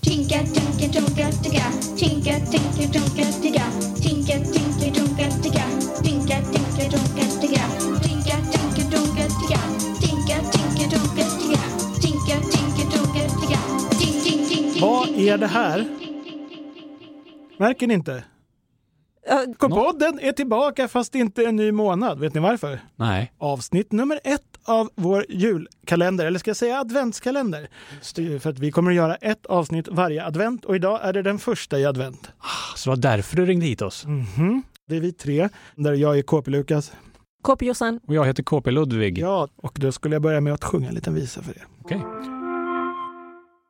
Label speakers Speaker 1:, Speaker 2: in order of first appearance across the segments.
Speaker 1: Tinka, tinka, tonka, ticka. Tinka, tinka, tonka, ticka. Tinka, tinka, tonka, ticka. Tinka, tinka, tonka, ticka. Tinka, tinka, tonka, ticka. Tinka, tinka, tonka, ticka. Tinka, tinka, tonka, ticka. Tink, tink, tink, tink,
Speaker 2: Vad
Speaker 1: tink.
Speaker 2: är det här? Märker ni inte?
Speaker 3: Ja,
Speaker 2: Kompodden är tillbaka fast inte en ny månad. Vet ni varför?
Speaker 4: Nej.
Speaker 2: Avsnitt nummer ett av vår julkalender, eller ska jag säga adventskalender? Styr- För att vi kommer att göra ett avsnitt varje advent och idag är det den första i advent.
Speaker 4: Så det var därför du ringde hit oss.
Speaker 2: Mhm. Det är vi tre, där jag är KP-Lukas.
Speaker 3: KP Jossan.
Speaker 4: Och jag heter KP Ludvig.
Speaker 2: Ja, och då skulle jag börja med att sjunga en liten visa för er.
Speaker 4: Okej.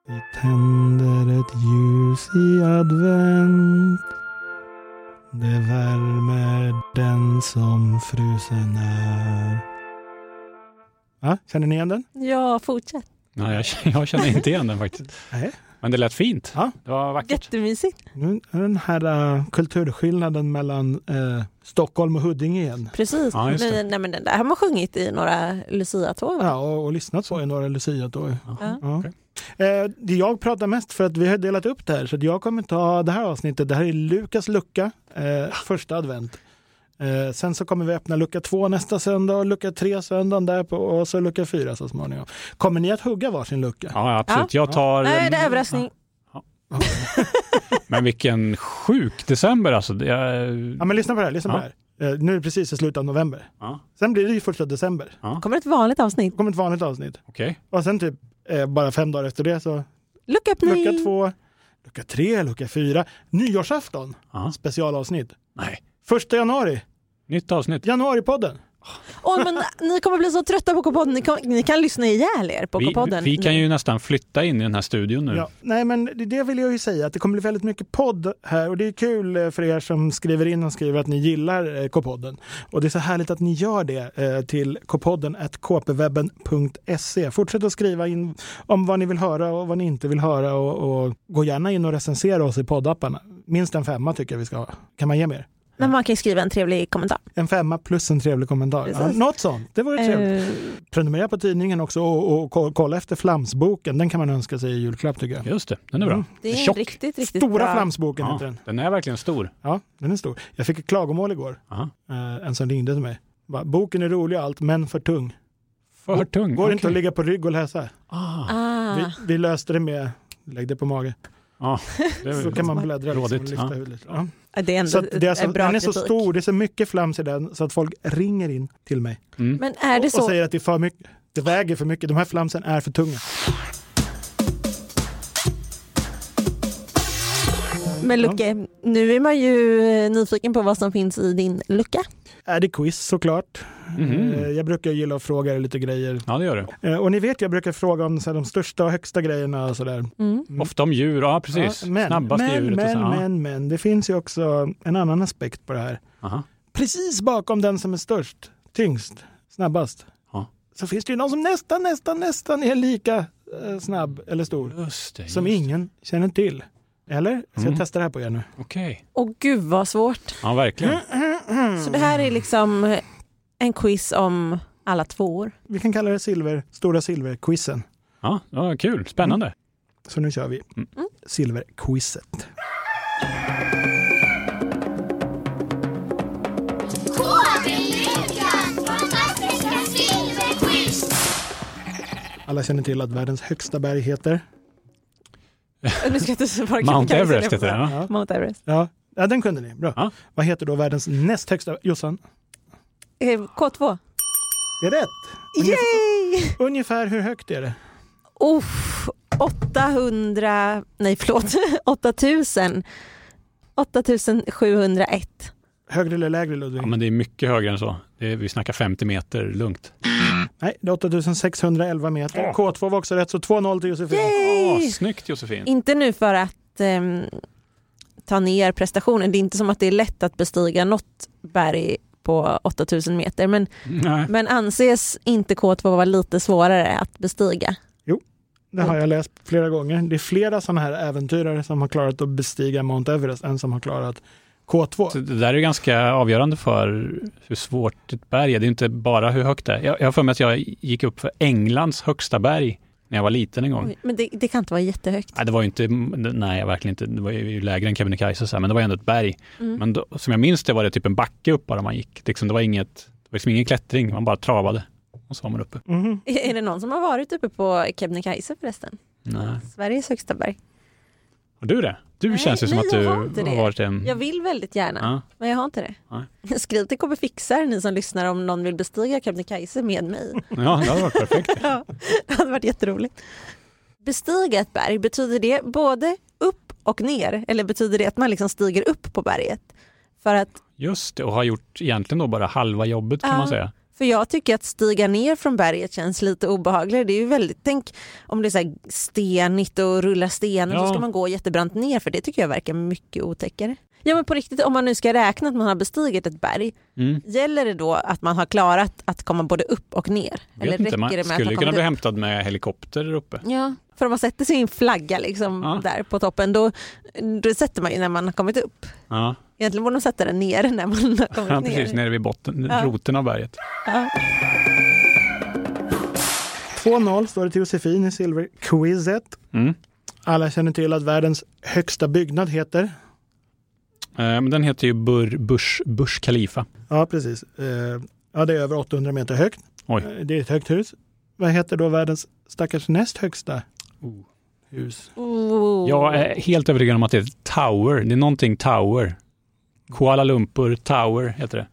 Speaker 2: Vi tänder ett ljus i advent. Det värmer den som frusen är. Ja, känner ni igen den?
Speaker 3: Ja, fortsätt.
Speaker 4: Nej, jag, jag känner inte igen den faktiskt.
Speaker 2: Nej.
Speaker 4: Men det lät fint.
Speaker 2: Ja.
Speaker 4: Det var vackert.
Speaker 3: Jättemysigt.
Speaker 2: Nu är den här eh, kulturskillnaden mellan eh, Stockholm och Huddinge igen.
Speaker 3: Precis.
Speaker 4: Ja, just det.
Speaker 3: nej, nej, men den där har man sjungit i några Lucia-tåg.
Speaker 2: Ja, och, och lyssnat på i några Lucia då.
Speaker 3: Ja.
Speaker 2: Ja.
Speaker 4: Okej.
Speaker 2: Eh, det jag pratar mest för att vi har delat upp det här så att jag kommer ta det här avsnittet. Det här är Lukas lucka, eh, första advent. Eh, sen så kommer vi öppna lucka två nästa söndag och lucka tre söndagen därpå och så lucka fyra så småningom. Kommer ni att hugga varsin lucka?
Speaker 4: Ja, absolut. Jag tar...
Speaker 3: Nej, det är överraskning.
Speaker 4: Men vilken sjuk december alltså. Det är-
Speaker 2: Ja, men lyssna på det här. Lyssna på
Speaker 4: Ja.
Speaker 2: det här. Eh, nu är det precis i slutet av november.
Speaker 4: Ja,
Speaker 2: Sen blir det ju första december.
Speaker 3: kommer ett vanligt avsnitt.
Speaker 2: Då kommer ett vanligt avsnitt.
Speaker 4: Okej.
Speaker 2: Och sen typ eh, bara fem dagar efter det så
Speaker 3: Lucköppning!
Speaker 2: lucka två, lucka tre, lucka fyra. Nyårsafton,
Speaker 4: Ja.
Speaker 2: specialavsnitt.
Speaker 4: Nej.
Speaker 2: Första januari,
Speaker 4: Nytt avsnitt.
Speaker 2: januaripodden.
Speaker 3: Åh, men ni kommer bli så trötta på K-podden. Ni, kom- ni kan lyssna ihjäl er på Mm.
Speaker 4: Vi,
Speaker 3: K-podden.
Speaker 4: vi kan ju nästan flytta in i den här studion nu.
Speaker 2: Ja, nej, men det- det vill jag ju säga att det kommer bli väldigt mycket podd här och det är kul eh, för er som skriver in och skriver att ni gillar eh, K-podden. Och det är så härligt att ni gör det eh, till kpodden at kpwebben.se. Fortsätt att skriva in om vad ni vill höra och vad ni inte vill höra och, och gå gärna in och recensera oss i poddapparna. Minst en femma tycker jag vi ska ha. Kan man ge mer?
Speaker 3: Men man kan ju skriva en trevlig kommentar.
Speaker 2: En femma plus en trevlig kommentar. Ja,
Speaker 3: Precis.
Speaker 2: något sånt. Det vore trevligt.
Speaker 3: Eh,
Speaker 2: Prenumerera på tidningen också och, och ko- kolla efter Flamsboken. Den kan man önska sig i julklapp tycker jag.
Speaker 4: Just det, den är bra.
Speaker 2: Mm.
Speaker 3: det är en
Speaker 4: Tjock.
Speaker 3: riktigt, riktigt
Speaker 2: Stora
Speaker 3: bra.
Speaker 2: Flamsboken
Speaker 4: Ja,
Speaker 2: heter den.
Speaker 4: den är verkligen stor.
Speaker 2: Ja, den är stor. Jag fick ett klagomål igår.
Speaker 4: Aha.
Speaker 2: Eh, en som ringde till mig. Bara, Boken är rolig och allt, men för tung.
Speaker 4: För tung.
Speaker 2: Går
Speaker 4: Okej.
Speaker 2: inte att ligga på rygg och läsa.
Speaker 4: Ah,
Speaker 3: Ah.
Speaker 2: Vi, vi löste det med lägg det på mage.
Speaker 4: det är
Speaker 2: Så kan man bläddra liksom, och
Speaker 4: Rådigt,
Speaker 2: lyfta
Speaker 4: ja.
Speaker 2: huvudet. lite. Ja.
Speaker 3: Det är ändå
Speaker 2: Så att det är alltså,
Speaker 3: en bra
Speaker 2: den är så
Speaker 3: kritik.
Speaker 2: stor, det är så mycket flams i den så att folk ringer in till mig
Speaker 4: Mm.
Speaker 3: Men är det
Speaker 2: och
Speaker 3: så?
Speaker 2: säger att det är för mycket. Det väger för mycket, de här flamsen är för tunga.
Speaker 3: Men Lucke, nu är man ju eh, nyfiken på vad som finns i din lucka.
Speaker 2: Är det quiz såklart.
Speaker 4: Mhm.
Speaker 2: Eh, Jag brukar gilla att fråga er lite grejer.
Speaker 4: Ja, det gör det.
Speaker 2: Eh, Och ni vet, jag brukar fråga om så här, de största och högsta grejerna och sådär.
Speaker 3: Mm.
Speaker 2: Mm.
Speaker 4: Ofta om djur, ja precis.
Speaker 2: Ja, men,
Speaker 4: Snabbaste
Speaker 2: men,
Speaker 4: djuret. och
Speaker 2: Men,
Speaker 4: så. ja.
Speaker 2: men, men, det finns ju också en annan aspekt på det här.
Speaker 4: Aha.
Speaker 2: Precis bakom den som är störst, tyngst, snabbast,
Speaker 4: Ja.
Speaker 2: så finns det ju någon som nästan, nästan, nästan är lika eh, snabb eller stor,
Speaker 4: Just det.
Speaker 2: som
Speaker 4: just-
Speaker 2: ingen känner till. Eller? Ska
Speaker 4: Mm.
Speaker 2: jag testa det här på er nu?
Speaker 4: Okej.
Speaker 3: Och gud vad svårt.
Speaker 4: Ja, verkligen.
Speaker 3: Mm.
Speaker 4: mm.
Speaker 3: Så det här är liksom en quiz om alla tvåor.
Speaker 2: Vi kan kalla det silver, stora silverquizen.
Speaker 4: Ja, det var kul. Spännande.
Speaker 3: Mm.
Speaker 2: Så nu kör vi.
Speaker 4: Mm.
Speaker 2: Silverquizet. Alla känner till att världens högsta berg heter?
Speaker 3: Nu ska jag inte svara.
Speaker 4: Mount Everest heter den.
Speaker 2: Ja.
Speaker 3: Mount Everest.
Speaker 2: Ja, ja den kunde ni. Bra.
Speaker 4: Ja.
Speaker 2: Vad heter då världens näst högsta? Jossan?
Speaker 3: Eh, K2.
Speaker 2: Det är rätt. Ungefär,
Speaker 3: Yay!
Speaker 2: ungefär hur högt är det?
Speaker 3: Uff, 800, nej förlåt, 8000. 8701.
Speaker 2: Högre eller lägre Ludvig?
Speaker 4: Ja, men det är mycket högre än så. Det är, vi snackar 50 meter lugnt.
Speaker 2: Nej, det är 8611 meter. K2 var också rätt, så 2-0 till Josefin.
Speaker 4: Åh,
Speaker 3: Yay!
Speaker 4: snyggt Josefin!
Speaker 3: Inte nu för att ehm, ta ner prestationen, det är inte som att det är lätt att bestiga något berg på 8000 meter, men,
Speaker 4: Nej.
Speaker 3: men anses inte K2 vara lite svårare att bestiga?
Speaker 2: Det har jag läst flera gånger. Det är flera sådana här äventyrare som har klarat att bestiga Mount Everest än som har klarat K2.
Speaker 4: Så det där är ju ganska avgörande för hur svårt ett berg är. Det är ju inte bara hur högt det är. Jag jag har för mig att jag gick upp för Englands högsta berg när jag var liten en gång.
Speaker 3: Oj, Men det, det kan inte vara jättehögt.
Speaker 4: Nej, det var ju inte, nej verkligen inte, det var ju lägre än Kebnekaise så här, men det var ändå ett berg.
Speaker 3: Mm.
Speaker 4: Men då, som jag minns det var det typ en backe upp bara man gick. Liksom, det var inget, det var liksom ingen klättring, man bara travade och så var man uppe.
Speaker 2: Mhm.
Speaker 3: Är det någon som har varit uppe på Kebnekaise förresten?
Speaker 4: Nej.
Speaker 3: Sveriges högsta berg.
Speaker 4: Mm. Har du det? Du
Speaker 3: Nej,
Speaker 4: känns ju som
Speaker 3: nej,
Speaker 4: att
Speaker 3: jag
Speaker 4: du
Speaker 3: har inte det.
Speaker 4: har varit en...
Speaker 3: Jag vill väldigt gärna,
Speaker 4: Ja.
Speaker 3: men jag har inte det. Skriv till KB Fixar ni som lyssnar om någon vill bestiga Kebnekaise med mig.
Speaker 4: ja, det hade varit perfekt.
Speaker 3: ja, det hade varit jätteroligt. Bestiga ett berg, betyder det både upp och ner? Eller betyder det att man liksom stiger upp på berget? För, att,
Speaker 4: Just det, och har gjort egentligen då bara halva jobbet kan
Speaker 3: Ja.
Speaker 4: man säga.
Speaker 3: för jag tycker att stiga ner från berget känns lite obehagligare. Det är ju väldigt, tänk om det är så här stenigt och rullar stenar så
Speaker 4: Ja.
Speaker 3: ska man gå jättebrant ner för det tycker jag verkar mycket otäckare. Ja men på riktigt, om man nu ska räkna att man har bestigit ett berg,
Speaker 4: Mm.
Speaker 3: gäller det då att man har klarat att komma både upp och ner?
Speaker 4: Vet inte, man skulle ju kunna
Speaker 3: kommit
Speaker 4: bli hämtad med helikopter där uppe.
Speaker 3: Ja. För om man sätter sin flagga liksom
Speaker 4: Ja.
Speaker 3: där på toppen, då, då sätter man ju när man har kommit upp.
Speaker 4: Ja,
Speaker 3: Egentligen borde de sätta den ner när man har kommit
Speaker 4: ja
Speaker 3: ner.
Speaker 4: precis, nere vid botten,
Speaker 3: Ja.
Speaker 4: roten av berget.
Speaker 3: Ja.
Speaker 2: 2-0 står det till Josefin i silverquizet.
Speaker 4: Mm.
Speaker 2: Alla känner till att världens högsta byggnad heter.
Speaker 4: Eh, Men den heter ju Bur, Bush, Bush Khalifa.
Speaker 2: Ja, precis. Eh, Ja, det är över 800 meter högt.
Speaker 4: Oj.
Speaker 2: Eh, Det är ett högt hus. Vad heter då världens stackars näst högsta
Speaker 4: Oh.
Speaker 2: hus?
Speaker 3: Oh.
Speaker 4: Jag är helt övertygad om att det är Tower. Det är någonting Tower. Kuala Lumpur Tower heter det.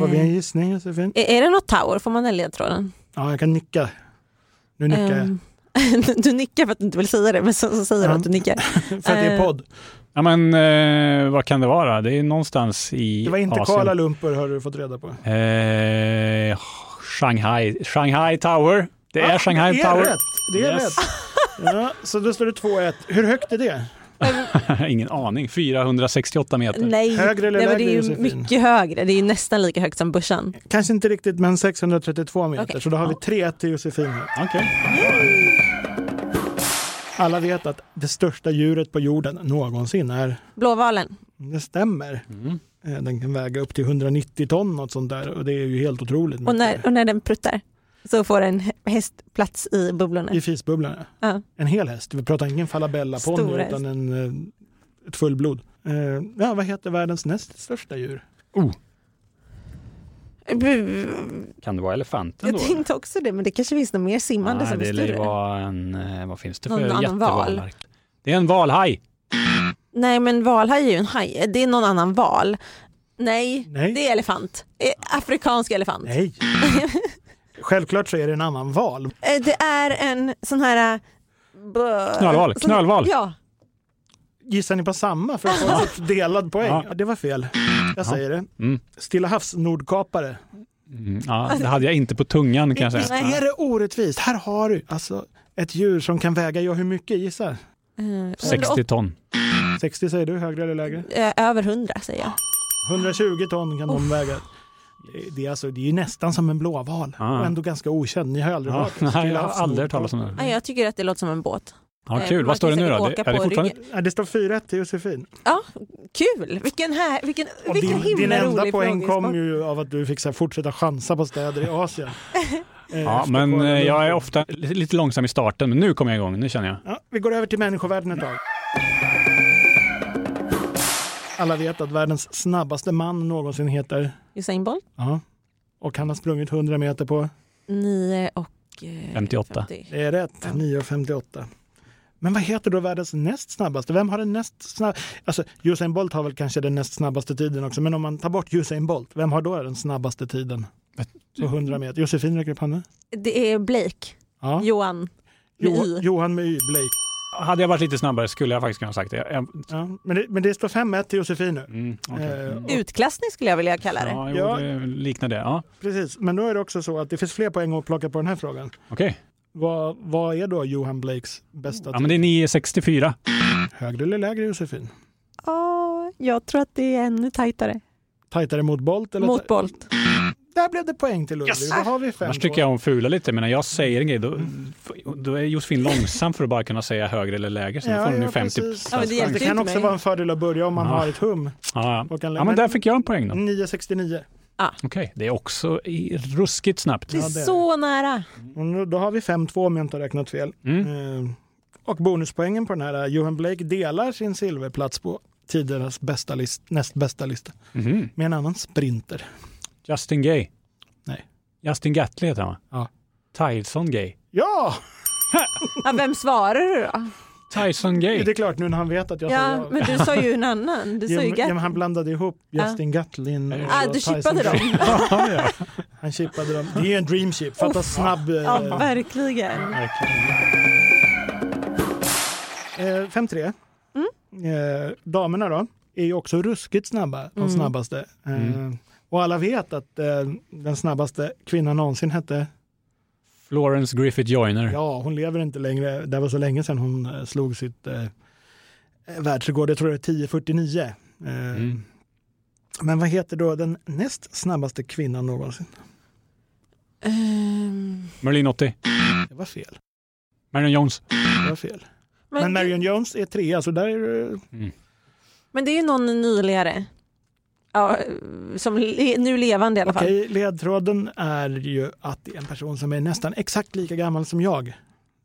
Speaker 2: Har vi en
Speaker 3: eh,
Speaker 2: gissning Josefin?
Speaker 3: är är det något tower? Får man den ledtråden?
Speaker 2: Ja, jag kan nicka. Nu nickar jag.
Speaker 3: Ehm, du nickar för att du inte vill säga det, men så, så säger du
Speaker 2: Ja.
Speaker 3: att du nickar.
Speaker 2: För att det är
Speaker 3: eh,
Speaker 2: podd.
Speaker 4: ehm, Ja, men eh, vad kan det vara? Det är någonstans i
Speaker 2: Det var inte
Speaker 4: Asien.
Speaker 2: Kuala Lumpur har du fått reda på.
Speaker 4: Eh, Shanghai. Shanghai Tower. Det är
Speaker 2: Ah,
Speaker 4: Shanghai
Speaker 2: det är
Speaker 4: Tower.
Speaker 2: Rätt. Det är
Speaker 4: Yes.
Speaker 2: rätt. Ja, så då står det 2-1. Hur högt är det?
Speaker 4: Ingen aning. 468 meter.
Speaker 3: Nej,
Speaker 2: Högre eller
Speaker 3: Nej men det
Speaker 2: lägre,
Speaker 3: är ju
Speaker 2: Josefin?
Speaker 3: mycket högre. Det är ju nästan lika högt som börsan.
Speaker 2: Kanske inte riktigt, men 632 meter.
Speaker 3: Okej.
Speaker 2: Så då har vi 3 till Josefin. här.
Speaker 4: Okej.
Speaker 2: Alla vet att det största djuret på jorden någonsin är,
Speaker 3: Blåvalen.
Speaker 2: det stämmer,
Speaker 4: Mm.
Speaker 2: Eh, den kan väga upp till 190 ton något sånt där och det är ju helt otroligt
Speaker 3: Och
Speaker 2: mycket.
Speaker 3: när, och när den pruttar så får en hä- häst plats i bubblorna.
Speaker 2: I fisbubblan.
Speaker 3: Ja.
Speaker 2: En hel häst. Vi pratar ingen falabella på
Speaker 3: Stor
Speaker 2: nu
Speaker 3: häst.
Speaker 2: utan en, eh, ett fullblod. Eh, Ja, vad heter världens näst största djur?
Speaker 3: Eh, Bu-
Speaker 4: Kan det vara elefanten då?
Speaker 3: Jag tänkte också det, men det kanske finns något mer simmande
Speaker 4: Nej,
Speaker 3: som är
Speaker 4: det lär ju
Speaker 3: större.
Speaker 4: vara en, eh, vad finns det
Speaker 3: Någon
Speaker 4: för
Speaker 3: annan
Speaker 4: jättevalar?
Speaker 3: val.
Speaker 4: Det är en valhaj.
Speaker 3: Nej, men valhaj är ju en haj. Det är någon annan val. Nej,
Speaker 2: Nej.
Speaker 3: det är elefant. Eh, Afrikansk elefant.
Speaker 2: Nej. Självklart så är det en annan val.
Speaker 3: Eh, Det är en sån här... eh, bö-
Speaker 4: Knölval,
Speaker 3: sån-
Speaker 4: knölval.
Speaker 3: Ja,
Speaker 2: Gissar ni på samma för att få en sorts delad poäng?
Speaker 4: Ja.
Speaker 2: Ja. Det var fel. Jag säger det.
Speaker 4: Mm.
Speaker 2: Stilla havs nordkapare.
Speaker 4: Mm, ja,
Speaker 3: Alltså-
Speaker 4: det hade jag inte på tungan kan jag
Speaker 2: Visst
Speaker 4: säga.
Speaker 2: är det orättvist? Här har du alltså ett djur som kan väga, ja hur mycket gissar?
Speaker 3: Eh,
Speaker 4: 60 ton.
Speaker 2: 60 säger du, högre eller lägre?
Speaker 3: eh, Över hundra säger jag.
Speaker 2: 120 ton kan
Speaker 4: Oh.
Speaker 2: de väga. Det- Det är, alltså, det är ju nästan som en blåval
Speaker 4: Ah.
Speaker 2: och ändå ganska okänd. Ni har ju aldrig
Speaker 4: Ja,
Speaker 2: hört det.
Speaker 4: nej,
Speaker 2: Stilla
Speaker 4: jag
Speaker 2: havs
Speaker 4: har aldrig hört talas om det.
Speaker 3: Nej, jag tycker att det låter som en båt.
Speaker 4: Ja,
Speaker 3: Eh,
Speaker 4: kul.
Speaker 3: man
Speaker 4: Vad står det
Speaker 3: kan
Speaker 4: nu då?
Speaker 3: säkert
Speaker 4: Det-
Speaker 3: åka
Speaker 4: Är det
Speaker 3: på
Speaker 4: fortfarande
Speaker 3: ryggen.
Speaker 2: Ja, det står 4-1 till Josefin.
Speaker 3: Ja, kul! Vilken, här, vilken,
Speaker 2: Och
Speaker 3: vilken
Speaker 2: din,
Speaker 3: himla
Speaker 2: din enda
Speaker 3: rolig
Speaker 2: poäng kom
Speaker 3: frågesport.
Speaker 2: ju av att du fick så här, fortsätta chansa på städer i Asien. Eh,
Speaker 4: Ja,
Speaker 2: efter
Speaker 4: men
Speaker 2: Kuala
Speaker 4: eh, jag är
Speaker 2: Lumpur.
Speaker 4: ofta li- lite långsam i starten, men nu kommer jag igång. Nu känner jag.
Speaker 2: Ja, vi går över till människovärlden ett tag. Alla vet att världens snabbaste man någonsin heter...
Speaker 3: Usain Bolt,
Speaker 2: Ja. Och han har sprungit 100 meter på...
Speaker 3: nio och... eh,
Speaker 4: 58.
Speaker 3: 50.
Speaker 2: Det är rätt, 9.58. Men vad heter då världens näst snabbaste? Vem har den näst snabbaste? Alltså, Usain Bolt har väl kanske den näst snabbaste tiden också, men om man tar bort Usain Bolt, vem har då den snabbaste tiden? På 100 meter. Josefin räcker upp handen.
Speaker 3: Det är Blake,
Speaker 2: Ja.
Speaker 3: Johan. med
Speaker 2: Jo-
Speaker 3: Y.
Speaker 2: Johan med Y, Blake.
Speaker 4: Hade jag varit lite snabbare skulle jag faktiskt kunna ha sagt det. Jag,
Speaker 2: Ja. Men, det, men det står 5-1 till Josefin nu.
Speaker 4: mm, okej.
Speaker 2: Eh, och-
Speaker 3: Utklassning skulle jag vilja kalla det.
Speaker 4: ja, jo,
Speaker 2: Ja.
Speaker 4: det liknar det. Ja,
Speaker 2: Precis, men då är det också så att det finns fler poäng att plocka på den här frågan.
Speaker 4: okej.
Speaker 2: Vad, vad är då Johan Blakes bästa
Speaker 4: Ja, men det är 964.
Speaker 2: tid? Högre eller lägre Josefin?
Speaker 3: Ja, jag tror att det är ännu tajtare.
Speaker 2: Tajtare mot Bolt? Eller
Speaker 3: Mot Bolt.
Speaker 2: Där blev det poäng till Ludvig. Då har vi fem
Speaker 4: Annars tycker jag om fula lite, men när jag säger en grej då, då är Josefin långsam för att bara kunna säga högre eller lägre. Så nu
Speaker 2: Ja,
Speaker 4: får hon ju
Speaker 2: ja,
Speaker 4: 50
Speaker 2: precis.
Speaker 3: Ja, men det hjälpte
Speaker 2: Det
Speaker 3: ju
Speaker 2: kan
Speaker 3: inte
Speaker 2: också
Speaker 3: mig.
Speaker 2: vara en fördel att börja om man
Speaker 4: Ja.
Speaker 2: har ett hum.
Speaker 4: Ja, ja.
Speaker 2: Och kan
Speaker 4: ja, men där fick jag en poäng då.
Speaker 2: 969.
Speaker 3: Ja.
Speaker 4: Okej, det är också i- ruskigt snabbt.
Speaker 3: Det är
Speaker 2: Ja, det är
Speaker 3: så nära.
Speaker 2: Och Mm, Då har vi 5-2 om jag inte har räknat fel.
Speaker 4: Mm.
Speaker 2: Eh, Och bonuspoängen på den här, Johan Blake delar sin silverplats på tidernas bästa list, näst bästa lista
Speaker 4: Mhm.
Speaker 2: med en annan sprinter.
Speaker 4: Justin Gay.
Speaker 2: Nej.
Speaker 4: Justin Gatley heter han va?
Speaker 2: Ja.
Speaker 4: Tyson Gay.
Speaker 2: Ja,
Speaker 3: Ja, vem svarar du då?
Speaker 4: Tyson Gay.
Speaker 2: det är klart nu när han vet att jag sa
Speaker 3: Ja, men du sa ju en annan. Du
Speaker 2: Ja,
Speaker 3: sa ju
Speaker 2: men- ja, men han
Speaker 3: Gatley.
Speaker 2: blandade ihop Justin Gatlin och
Speaker 3: Ah, du
Speaker 2: Tyson
Speaker 3: chippade
Speaker 2: Fury.
Speaker 3: dem.
Speaker 4: ja, ja.
Speaker 2: Han chippade dem. Det är ju en dream chip. Fatta snabb. eh,
Speaker 3: Ja, verkligen.
Speaker 2: eh, 5-3. Eh, damerna då är ju också ruskigt snabba, de snabbaste. Eh, Och alla vet att eh, den snabbaste kvinnan någonsin hette,
Speaker 4: Florence Griffith Joyner.
Speaker 2: ja hon lever inte längre, det var så länge sedan hon eh, slog sitt eh, världsrekord, jag tror det är 10.49. Eh,
Speaker 4: Mm.
Speaker 2: Men vad heter då den näst snabbaste kvinnan någonsin?
Speaker 3: Ehm,
Speaker 4: Merlin 80.
Speaker 2: Det var fel.
Speaker 4: Marion Jones.
Speaker 2: Det var fel. Men,
Speaker 3: Men,
Speaker 2: Marion Jones är trea, så där eh, är du...
Speaker 3: men det är ju någon nyligare. Ja, som le, nu levande i alla fall.
Speaker 2: Okej, ledtråden är ju att det är en person som är nästan exakt lika gammal som jag.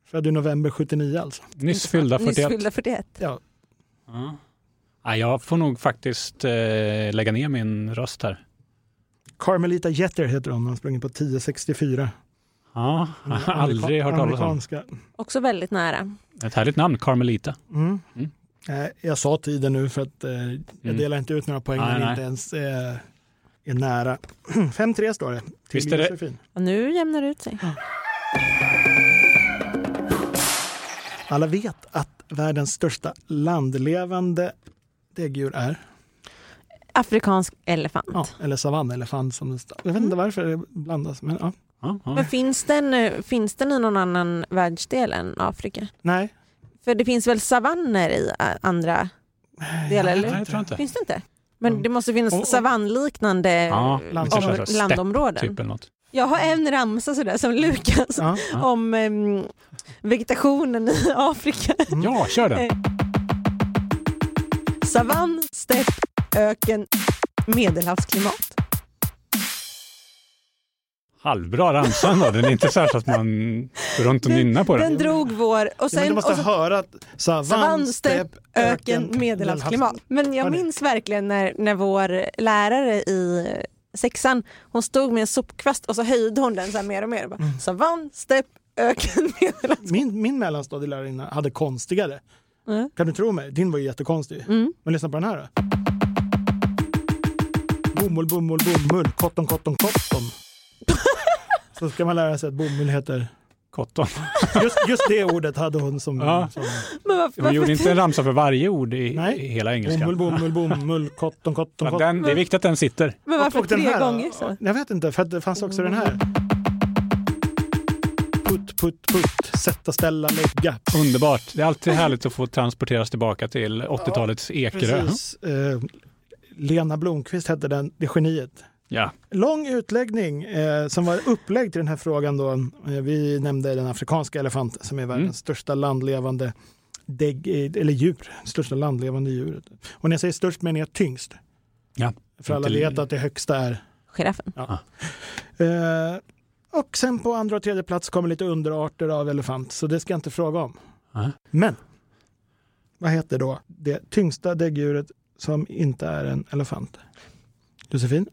Speaker 2: Född i november 79 alltså.
Speaker 4: Nyss fyllda
Speaker 3: Nyss
Speaker 4: 41.
Speaker 3: fyllda 41.
Speaker 2: Ja,
Speaker 4: Ja. Ja, jag får nog faktiskt eh, lägga ner min röst här.
Speaker 2: Carmelita Jeter heter hon, hon har sprungit på 10.64.
Speaker 4: Ja,
Speaker 2: Mm,
Speaker 4: aldrig hört talas om.
Speaker 2: Amerikanska.
Speaker 3: Också väldigt nära.
Speaker 4: Ett härligt namn, Carmelita.
Speaker 2: Mm.
Speaker 4: Mm.
Speaker 2: Eh, Jag sa tiden nu för att eh, jag
Speaker 4: Mm.
Speaker 2: delar inte ut några poäng
Speaker 4: Nej,
Speaker 2: när det
Speaker 4: nej.
Speaker 2: inte ens eh, är nära. 5-3 står det till
Speaker 4: Visst är det-
Speaker 2: Josefin.
Speaker 3: Och nu jämnar det ut sig.
Speaker 2: Alla vet att världens största landlevande däggdjur är?
Speaker 3: Afrikansk elefant.
Speaker 2: Ja, eller savannelefant som det står. Jag vet inte varför det blandas. Men, ja.
Speaker 4: Ja,
Speaker 3: Men
Speaker 4: ja.
Speaker 3: finns den, eh, finns den i någon annan världsdel än Afrika?
Speaker 2: Nej.
Speaker 3: För det finns väl savanner i ä, andra delar?
Speaker 4: Nej,
Speaker 3: Eller?
Speaker 4: jag tror inte.
Speaker 3: Finns det inte? Men
Speaker 2: Mm.
Speaker 3: det måste
Speaker 2: Och- och-
Speaker 3: finnas savannliknande
Speaker 4: Ja,
Speaker 2: Land-
Speaker 4: vi kanske
Speaker 3: om,
Speaker 4: har så här stepp,
Speaker 3: landområden.
Speaker 4: typ eller något.
Speaker 3: Jag har en ramsa sådär som Lukas
Speaker 2: Ja.
Speaker 4: Ja.
Speaker 3: om em, vegetationen i Afrika.
Speaker 2: Mm.
Speaker 4: Ja, kör den.
Speaker 3: Eh. Savann, stepp, öken, medelhavsklimat.
Speaker 4: Halvbra ramsa ändå. Den är inte så här så att man går runt och
Speaker 3: Den-
Speaker 4: nynnar på
Speaker 3: Den
Speaker 4: den.
Speaker 3: drog vår... Och
Speaker 2: Ja, men du
Speaker 3: sen, och
Speaker 2: måste
Speaker 3: så
Speaker 2: höra att savann,
Speaker 3: Savann,
Speaker 2: stepp,
Speaker 3: öken, medelhavsklimat. Men jag
Speaker 2: Hörni.
Speaker 3: minns verkligen när, när vår lärare i sexan, hon stod med en sopkvast och så höjde hon den så här mer och mer. Och bara,
Speaker 2: Mm.
Speaker 3: Savann, stepp, öken, medelhavsklimat.
Speaker 2: Min, min mellanstadielärarinna hade konstigare.
Speaker 3: Mm.
Speaker 2: Kan du tro mig? Din var ju jättekonstig.
Speaker 3: Mm.
Speaker 2: Men lyssna på den här då. Bomull, bomull, bomull, cotton, cotton, cotton. Så ska man lära sig att bomull heter...
Speaker 4: Kotton.
Speaker 2: Just, just det ordet hade hon som...
Speaker 4: Ja.
Speaker 2: som
Speaker 3: Men varför,
Speaker 4: Vi gjorde
Speaker 3: varför,
Speaker 4: inte en ramsa för varje ord i,
Speaker 2: Nej.
Speaker 4: i hela
Speaker 2: bomull,
Speaker 4: engelskan.
Speaker 2: bomull, bomull, cotton, cotton,
Speaker 4: Ja,
Speaker 2: cotton.
Speaker 4: den, det är viktigt att den sitter.
Speaker 3: men varför
Speaker 2: Och den
Speaker 3: tre
Speaker 2: här då?
Speaker 3: gånger så?
Speaker 2: Jag vet inte, för att det fanns också den här. Putt, putt, putt, sätta, ställa, lägga.
Speaker 4: Underbart. Det är alltid härligt att få transporteras tillbaka till 80-talets Ekerö.
Speaker 2: Precis. Eh, Lena Blomqvist hette den, det geniet.
Speaker 4: Ja.
Speaker 2: Lång utläggning eh, som var upplägg till den här frågan då. Eh, vi nämnde den afrikanska elefanten som är världens
Speaker 4: Mm.
Speaker 2: största landlevande dägg, eh, eller djur, största landlevande djuret. Och när jag säger störst menar jag tyngst.
Speaker 4: Ja.
Speaker 2: För alla
Speaker 4: Inte-
Speaker 2: vet att det högsta är
Speaker 3: Giraffen.
Speaker 2: Eh, och sen på andra och tredje plats kommer lite underarter av elefant, så det ska jag inte fråga om.
Speaker 4: Nej.
Speaker 2: Men, vad heter då det tyngsta däggdjuret som inte är en elefant? Josefin?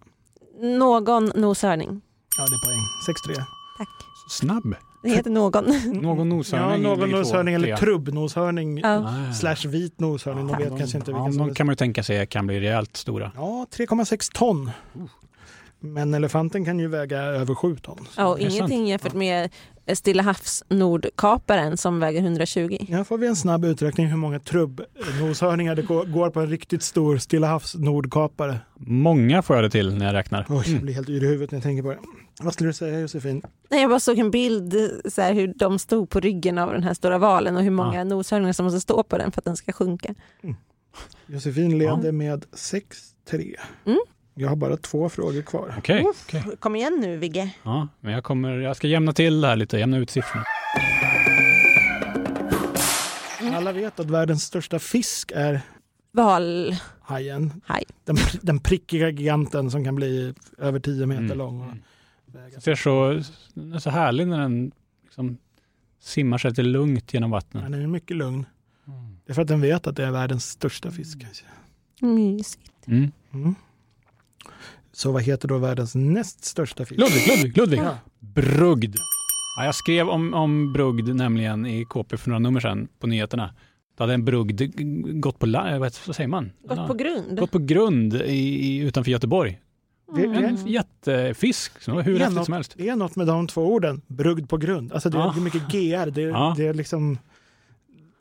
Speaker 3: Någon noshörning.
Speaker 2: Ja, det är poäng. 6-3.
Speaker 3: Tack.
Speaker 4: Snabb.
Speaker 3: Det heter någon.
Speaker 4: Någon
Speaker 2: Ja,
Speaker 4: noshörning.
Speaker 2: någon
Speaker 4: ligger två,
Speaker 2: noshörning eller
Speaker 4: trea.
Speaker 2: trubbnoshörning
Speaker 3: Ja.
Speaker 4: Nej.
Speaker 2: slash vit noshörning. De vet kanske inte
Speaker 4: ja,
Speaker 2: vilken som
Speaker 4: de
Speaker 2: det är.
Speaker 4: kan man ju tänka sig kan bli rejält stora.
Speaker 2: Ja, 3,6 ton.
Speaker 4: Uh.
Speaker 2: Men elefanten kan ju väga över 7 ton.
Speaker 3: Ja, och
Speaker 4: Det är sant.
Speaker 3: ingenting jämfört med eh, Stilla havs nordkaparen som väger 120.
Speaker 2: Här får vi en snabb uträkning hur många trubbnoshörningar det går går på en riktigt stor Stilla havs nordkapare.
Speaker 4: Många får jag det till när jag räknar. Mm.
Speaker 2: Oj, jag blir helt yr i huvudet när jag tänker på det. Vad skulle du säga Josefin?
Speaker 3: Nej, jag bara såg en bild eh, så här, hur de stod på ryggen av den här stora valen och hur många noshörningar som måste stå på den för att den ska sjunka.
Speaker 2: Josefin leder med 6-3.
Speaker 3: Mm.
Speaker 2: Jag har bara två frågor kvar.
Speaker 4: Okej.
Speaker 3: Kom igen nu Vigge.
Speaker 4: Ja, men jag, kommer, jag ska jämna till det här lite, jämna ut siffrorna.
Speaker 3: Mm.
Speaker 2: Alla vet att världens största fisk är
Speaker 3: Val.
Speaker 2: hajen.
Speaker 3: Haj.
Speaker 2: Den, den prickiga giganten som kan bli över 10 meter
Speaker 4: Mm.
Speaker 2: lång. Och
Speaker 4: Mm.
Speaker 2: väga.
Speaker 4: Den ser så, den är så härlig när den liksom simmar sig lite lugnt genom vattnet.
Speaker 2: Den är mycket lugn.
Speaker 4: Mm.
Speaker 2: Det är för att den vet att det är världens största fisk. kanske.
Speaker 3: Mysigt.
Speaker 4: Mm.
Speaker 2: Mm. Så vad heter då världens näst största fisk?
Speaker 4: Ludvig, Ludvig, Ludvig!
Speaker 2: Ja.
Speaker 4: Brugd. Ja, jag skrev om, om brugd nämligen i KP för några nummer sedan på nyheterna. Då hade en brugd g- gått på, la- eh, vad vad säger man?
Speaker 3: Gått på grund.
Speaker 4: gått på grund i, i, utanför Göteborg.
Speaker 2: Det,
Speaker 3: Mm.
Speaker 2: det,
Speaker 4: En jättefisk som var hur
Speaker 2: Det är
Speaker 4: häftigt
Speaker 2: något-
Speaker 4: som helst.
Speaker 2: Det är något med de två orden, brugd på grund. Alltså det är
Speaker 4: Ja.
Speaker 2: mycket GR, det,
Speaker 4: Ja.
Speaker 2: det är liksom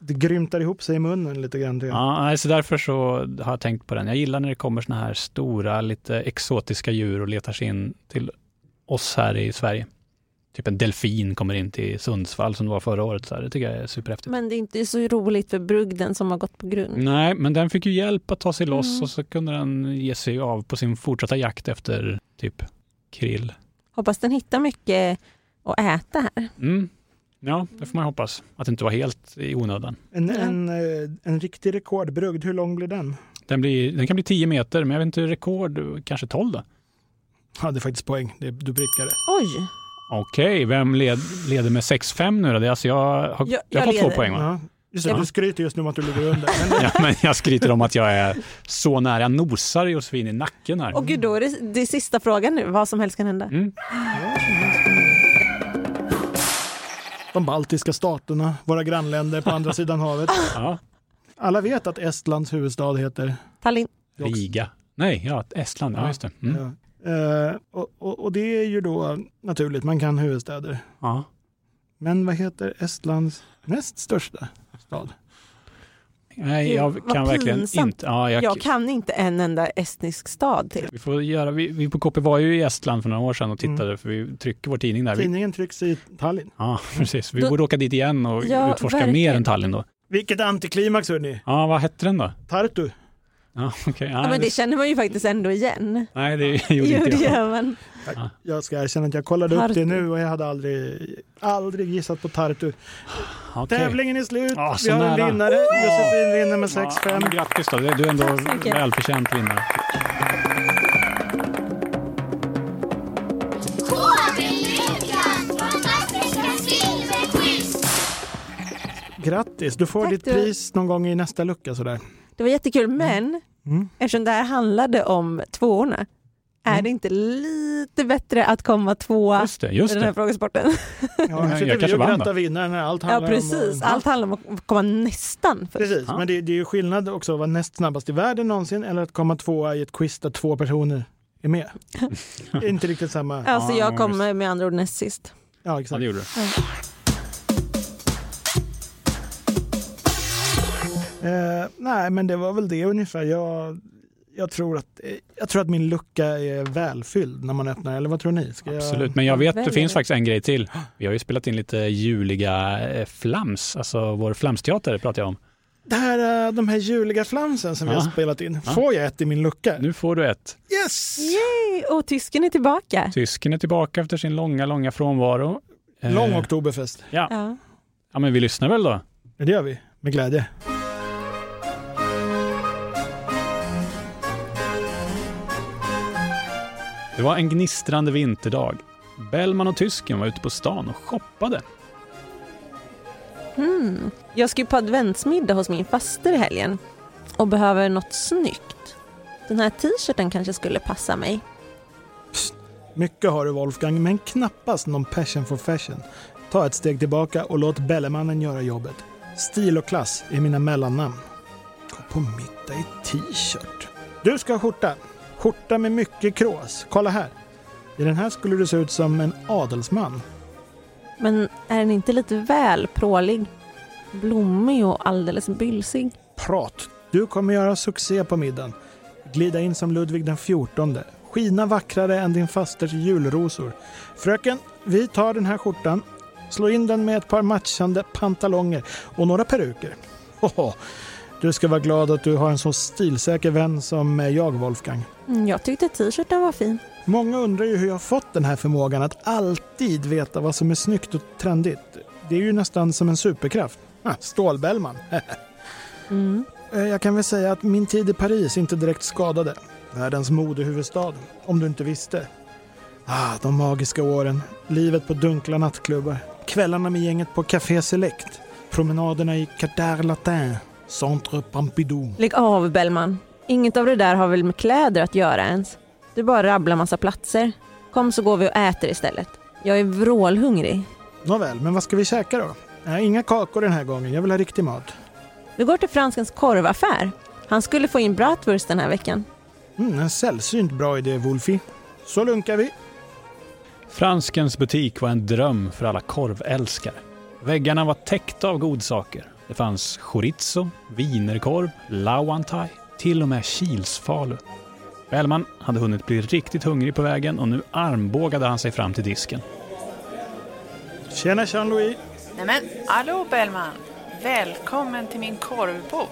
Speaker 2: det grymtar ihop sig i munnen lite grann. tycker jag.
Speaker 4: Ja, nej, så därför så har jag tänkt på den. Jag gillar när det kommer såna här stora, lite exotiska djur och letar sig in till oss här i Sverige. Typ en delfin kommer in till Sundsvall som det var förra året. Så här. Det tycker jag är superhäftigt.
Speaker 3: Men det är inte så roligt för brugden som har gått på grund.
Speaker 4: Nej, men den fick ju hjälp att ta sig loss
Speaker 3: Mm.
Speaker 4: och så kunde den ge sig av på sin fortsatta jakt efter typ krill.
Speaker 3: Hoppas den hittar mycket att äta här.
Speaker 4: Mm. Ja, det får man hoppas. Att det inte var helt i onödan.
Speaker 2: En,
Speaker 3: Ja.
Speaker 2: en, eh, en riktig rekordbrugd, hur lång blir den?
Speaker 4: Den, blir, den kan bli 10 meter, men jag vet inte, rekord kanske 12 då?
Speaker 2: Ja, det är faktiskt poäng, det, du prickade.
Speaker 3: Oj,
Speaker 4: Okej, vem led, leder med 6-5 nu då? Det är alltså jag har, jag,
Speaker 3: Jag-
Speaker 4: har
Speaker 3: jag
Speaker 4: fått två
Speaker 3: leder.
Speaker 4: poäng va?
Speaker 2: Ja. Just det,
Speaker 4: Ja.
Speaker 2: Du skryter just nu om att du ligger under. Men
Speaker 4: Ja, men jag skryter om att jag är så nära. Jag nosar Josefin i nacken här.
Speaker 3: och gud då är det, det är sista frågan nu, vad som helst kan hända.
Speaker 4: Mm.
Speaker 2: de baltiska staterna, våra grannländer på andra sidan havet.
Speaker 4: Ja.
Speaker 2: Alla vet att Estlands huvudstad heter
Speaker 3: Tallinn.
Speaker 4: Riga. Nej, ja, Estland. Ja, just det. Mm.
Speaker 2: Ja. Eh, och, och, och det är ju då naturligt, man kan huvudstäder.
Speaker 4: Ja.
Speaker 2: Men vad heter Estlands näst största stad?
Speaker 4: Nej,
Speaker 3: Gud,
Speaker 4: jag
Speaker 3: vad
Speaker 4: kan verkligen
Speaker 3: pinsamt.
Speaker 4: inte. Ja,
Speaker 3: Jag kan inte en enda estnisk stad till.
Speaker 4: Vi, får göra, vi, vi på KP var ju i Estland för några år sedan och
Speaker 3: Mm.
Speaker 4: tittade, för vi trycker vår tidning där. Vi,
Speaker 2: Tidningen trycks i Tallinn.
Speaker 4: ja, precis. Vi
Speaker 3: Då-
Speaker 4: borde åka dit igen och
Speaker 3: Ja,
Speaker 4: utforska mer
Speaker 3: verkligen.
Speaker 4: än Tallinn då.
Speaker 2: Vilket antiklimax hörni!
Speaker 4: Ja, vad hette den då?
Speaker 2: Tartu.
Speaker 4: Ja, okej.
Speaker 3: Ja,
Speaker 4: ja,
Speaker 3: men det
Speaker 4: det,
Speaker 3: känner man ju faktiskt ändå igen.
Speaker 4: nej, det gjorde
Speaker 3: Jo,
Speaker 4: inte
Speaker 3: det
Speaker 4: jag.
Speaker 3: gör man.
Speaker 2: Jag ska erkänna att jag kollade upp
Speaker 3: Tartu.
Speaker 2: det nu och jag hade aldrig, aldrig gissat på Tartu.
Speaker 4: Okej.
Speaker 2: Tävlingen är slut.
Speaker 4: Ah,
Speaker 2: Vi
Speaker 4: så
Speaker 2: har
Speaker 4: nära.
Speaker 2: en vinnare. Josefin vinner med
Speaker 4: Ja,
Speaker 2: 6-5.
Speaker 4: men grattis då, Det- du är ändå
Speaker 3: Tack så mycket.
Speaker 4: välförtjänt vinnare.
Speaker 2: Grattis, du får
Speaker 3: Tack,
Speaker 2: ditt
Speaker 3: du-
Speaker 2: pris någon gång i nästa lucka sådär.
Speaker 3: Det var jättekul, men
Speaker 2: Mm.
Speaker 3: eftersom det här handlade om tvåorna, är
Speaker 2: Mm.
Speaker 3: det inte lite bättre att komma tvåa
Speaker 4: Just det, just
Speaker 3: i den här
Speaker 4: det.
Speaker 3: frågesporten?
Speaker 2: Ja, här
Speaker 4: jag
Speaker 2: sitter vi
Speaker 4: kanske
Speaker 2: och
Speaker 4: vann
Speaker 2: grattar vinnaren när allt
Speaker 3: Ja,
Speaker 2: handlar
Speaker 3: precis.
Speaker 2: om...
Speaker 3: Allt handlar om att komma nästan först.
Speaker 2: Precis,
Speaker 4: Ja.
Speaker 2: men det, det är ju skillnad också att vara näst snabbast i världen någonsin eller att komma tvåa i ett quiz där två personer är med. det är inte riktigt samma. Ja,
Speaker 3: Alltså
Speaker 4: Ja,
Speaker 3: jag
Speaker 4: just.
Speaker 3: kommer med andra ord näst sist.
Speaker 4: Ja,
Speaker 2: exakt.
Speaker 4: det gjorde du.
Speaker 2: Eh, nej, men det var väl det ungefär. Jag, jag, tror att, eh, jag tror att min lucka är välfylld när man öppnar, eller vad tror ni? Ska jag-
Speaker 4: Absolut, men jag vet att det
Speaker 3: Väljer
Speaker 4: finns
Speaker 3: det.
Speaker 4: faktiskt en grej till. Vi har ju spelat in lite juliga eh, flams, alltså vår flamsteater pratar jag om.
Speaker 2: Det här, eh, de här juliga flamsen som vi
Speaker 4: Ja.
Speaker 2: har spelat in,
Speaker 4: Ja.
Speaker 2: får jag ett i min lucka?
Speaker 4: Nu får du ett.
Speaker 2: Yes!
Speaker 3: Yay! Och tysken är tillbaka.
Speaker 4: Tysken är tillbaka efter sin långa, långa frånvaro. Eh,
Speaker 2: Lång oktoberfest,
Speaker 3: Ja.
Speaker 4: Ja, men vi lyssnar väl då?
Speaker 2: det gör vi med glädje.
Speaker 4: Det var en gnistrande vinterdag. Bellman och tysken var ute på stan och shoppade.
Speaker 3: Mm. Jag ska ju på adventsmiddag hos min faster i helgen och behöver något snyggt. Den här t-shirten kanske skulle passa mig.
Speaker 2: Mycket har du Wolfgang, men knappast någon passion for fashion. Ta ett steg tillbaka och låt Bellemannen göra jobbet. Stil och klass är mina mellannamn. Gå på middag i t-shirt. Du ska ha skjorta. Skjorta med mycket krås. Kolla här. I den här skulle du se ut som en adelsman.
Speaker 3: Men är den inte lite väl prålig? Blommig och alldeles bylsig.
Speaker 2: Prat. Du kommer göra succé på middagen. Glida in som Ludvig den XIV. Skina vackrare än din fasters julrosor. Fröken, vi tar den här skjortan. Slå in den med ett par matchande pantalonger och några peruker. Hoho. Du ska vara glad att du har en så stilsäker vän som jag, Wolfgang.
Speaker 3: Mm, Jag tyckte t-shirten var fin.
Speaker 2: Många undrar ju hur jag fått den här förmågan att alltid veta vad som är snyggt och Ah, trendigt. Det är ju nästan som en superkraft. Ha, Stålbellman.
Speaker 3: Mm.
Speaker 2: Eh, Jag kan väl säga att min tid i Paris inte direkt skadade. Världens modehuvudstad, om du inte visste. Ah, de magiska åren. Livet på dunkla nattklubbar. Kvällarna med gänget på Café Select. Promenaderna i Quartier Latin. Centre Pompidou.
Speaker 3: Lägg av Bellman. Inget av det där har väl med kläder att göra ens. Du bara rabblar massa platser. Kom så går vi och äter istället. Jag är vrålhungrig.
Speaker 2: Nåväl, men vad ska vi käka då? Nej, inga kakor den här gången. Jag vill ha riktig mat.
Speaker 3: Vi går till Franskens korvaffär. Han skulle få in bratwurst den här veckan.
Speaker 2: Mm, en sällsynt bra idé, Wolfie. Så lunkar vi.
Speaker 4: Franskens butik var en dröm för alla korvälskare. Väggarna var täckta av godsaker. Det fanns chorizo, wienerkorv, lauantai, till och med kilsfalu. Bellman hade hunnit bli riktigt hungrig på vägen och nu armbågade han sig fram till disken.
Speaker 2: Tjena Jean-Louis.
Speaker 5: Nej men, hallå Bellman! Välkommen till min korvbod.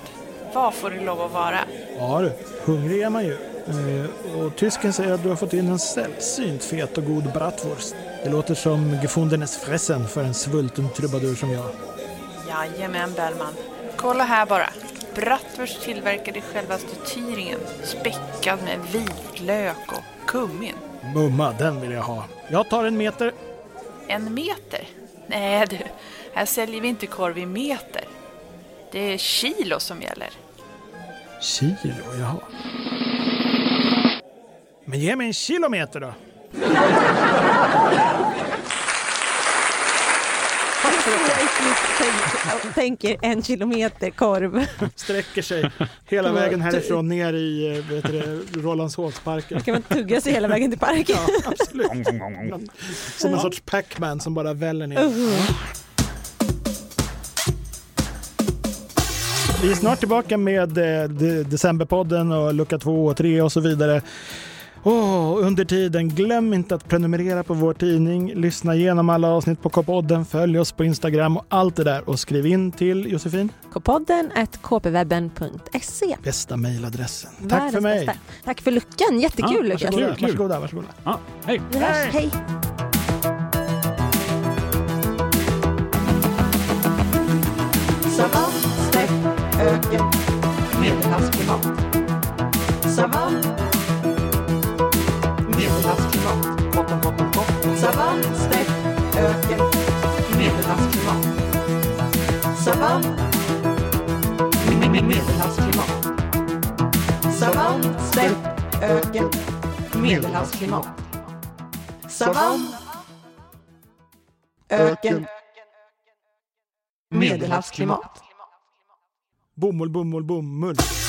Speaker 5: Vad får du lov att vara?
Speaker 2: Ja du, hungrig är man ju. Eh, Och tysken säger att du har fått in en sällsynt fet och god bratwurst. Det låter som gefundenes fressen för en svulten trubadur som jag.
Speaker 5: Jajamän Bellman. Kolla här bara. Bratwurst tillverkad i självaste Thüringen. Späckad med vitlök och kummin.
Speaker 2: Mumma, den vill jag ha. Jag tar en meter.
Speaker 5: En meter? Nej du, här säljer vi inte korv i meter. Det är kilo som gäller.
Speaker 2: Kilo, jaha. Men ge mig en kilometer då.
Speaker 3: Jag tänker en kilometer korv.
Speaker 2: Sträcker sig hela vägen härifrån ner i eh, vet du, det, Rålambshovsparken.
Speaker 3: Kan man tugga sig hela vägen till parken?
Speaker 2: Ja, absolut. Som en sorts Pac-Man som bara väller ner. Vi är snart tillbaka med eh, de- Decemberpodden och lucka 2 och 3 och så vidare. Åh, under tiden, glöm inte att prenumerera på vår tidning, lyssna igenom alla avsnitt på K-podden, följ oss på Instagram och allt det där och skriv in till Josefin,
Speaker 3: Kpodden at kpwebben.se.
Speaker 2: bästa mejladressen. Tack
Speaker 3: Världens
Speaker 2: för mig!
Speaker 3: bästa. Tack för luckan, jättekul
Speaker 4: Ja,
Speaker 3: Lukas.
Speaker 2: Varsågoda,
Speaker 4: Kul, kul.
Speaker 2: varsågoda, varsågoda.
Speaker 4: Ja, Ah, hej!
Speaker 3: Vi hörs.
Speaker 2: Hej.
Speaker 3: Hej.
Speaker 6: Savann, stäpp, öken, medelhavsklimat. Savann, medelhavsklimat. Botten, botten, botten. Savann, stäpp, öken, medelhavsklimat. Savann, me- me- medelhavsklimat. Savann, stäpp, öken, medelhavsklimat. Savann, öken, medelhavsklimat.
Speaker 2: Bomull, bomull, bomull.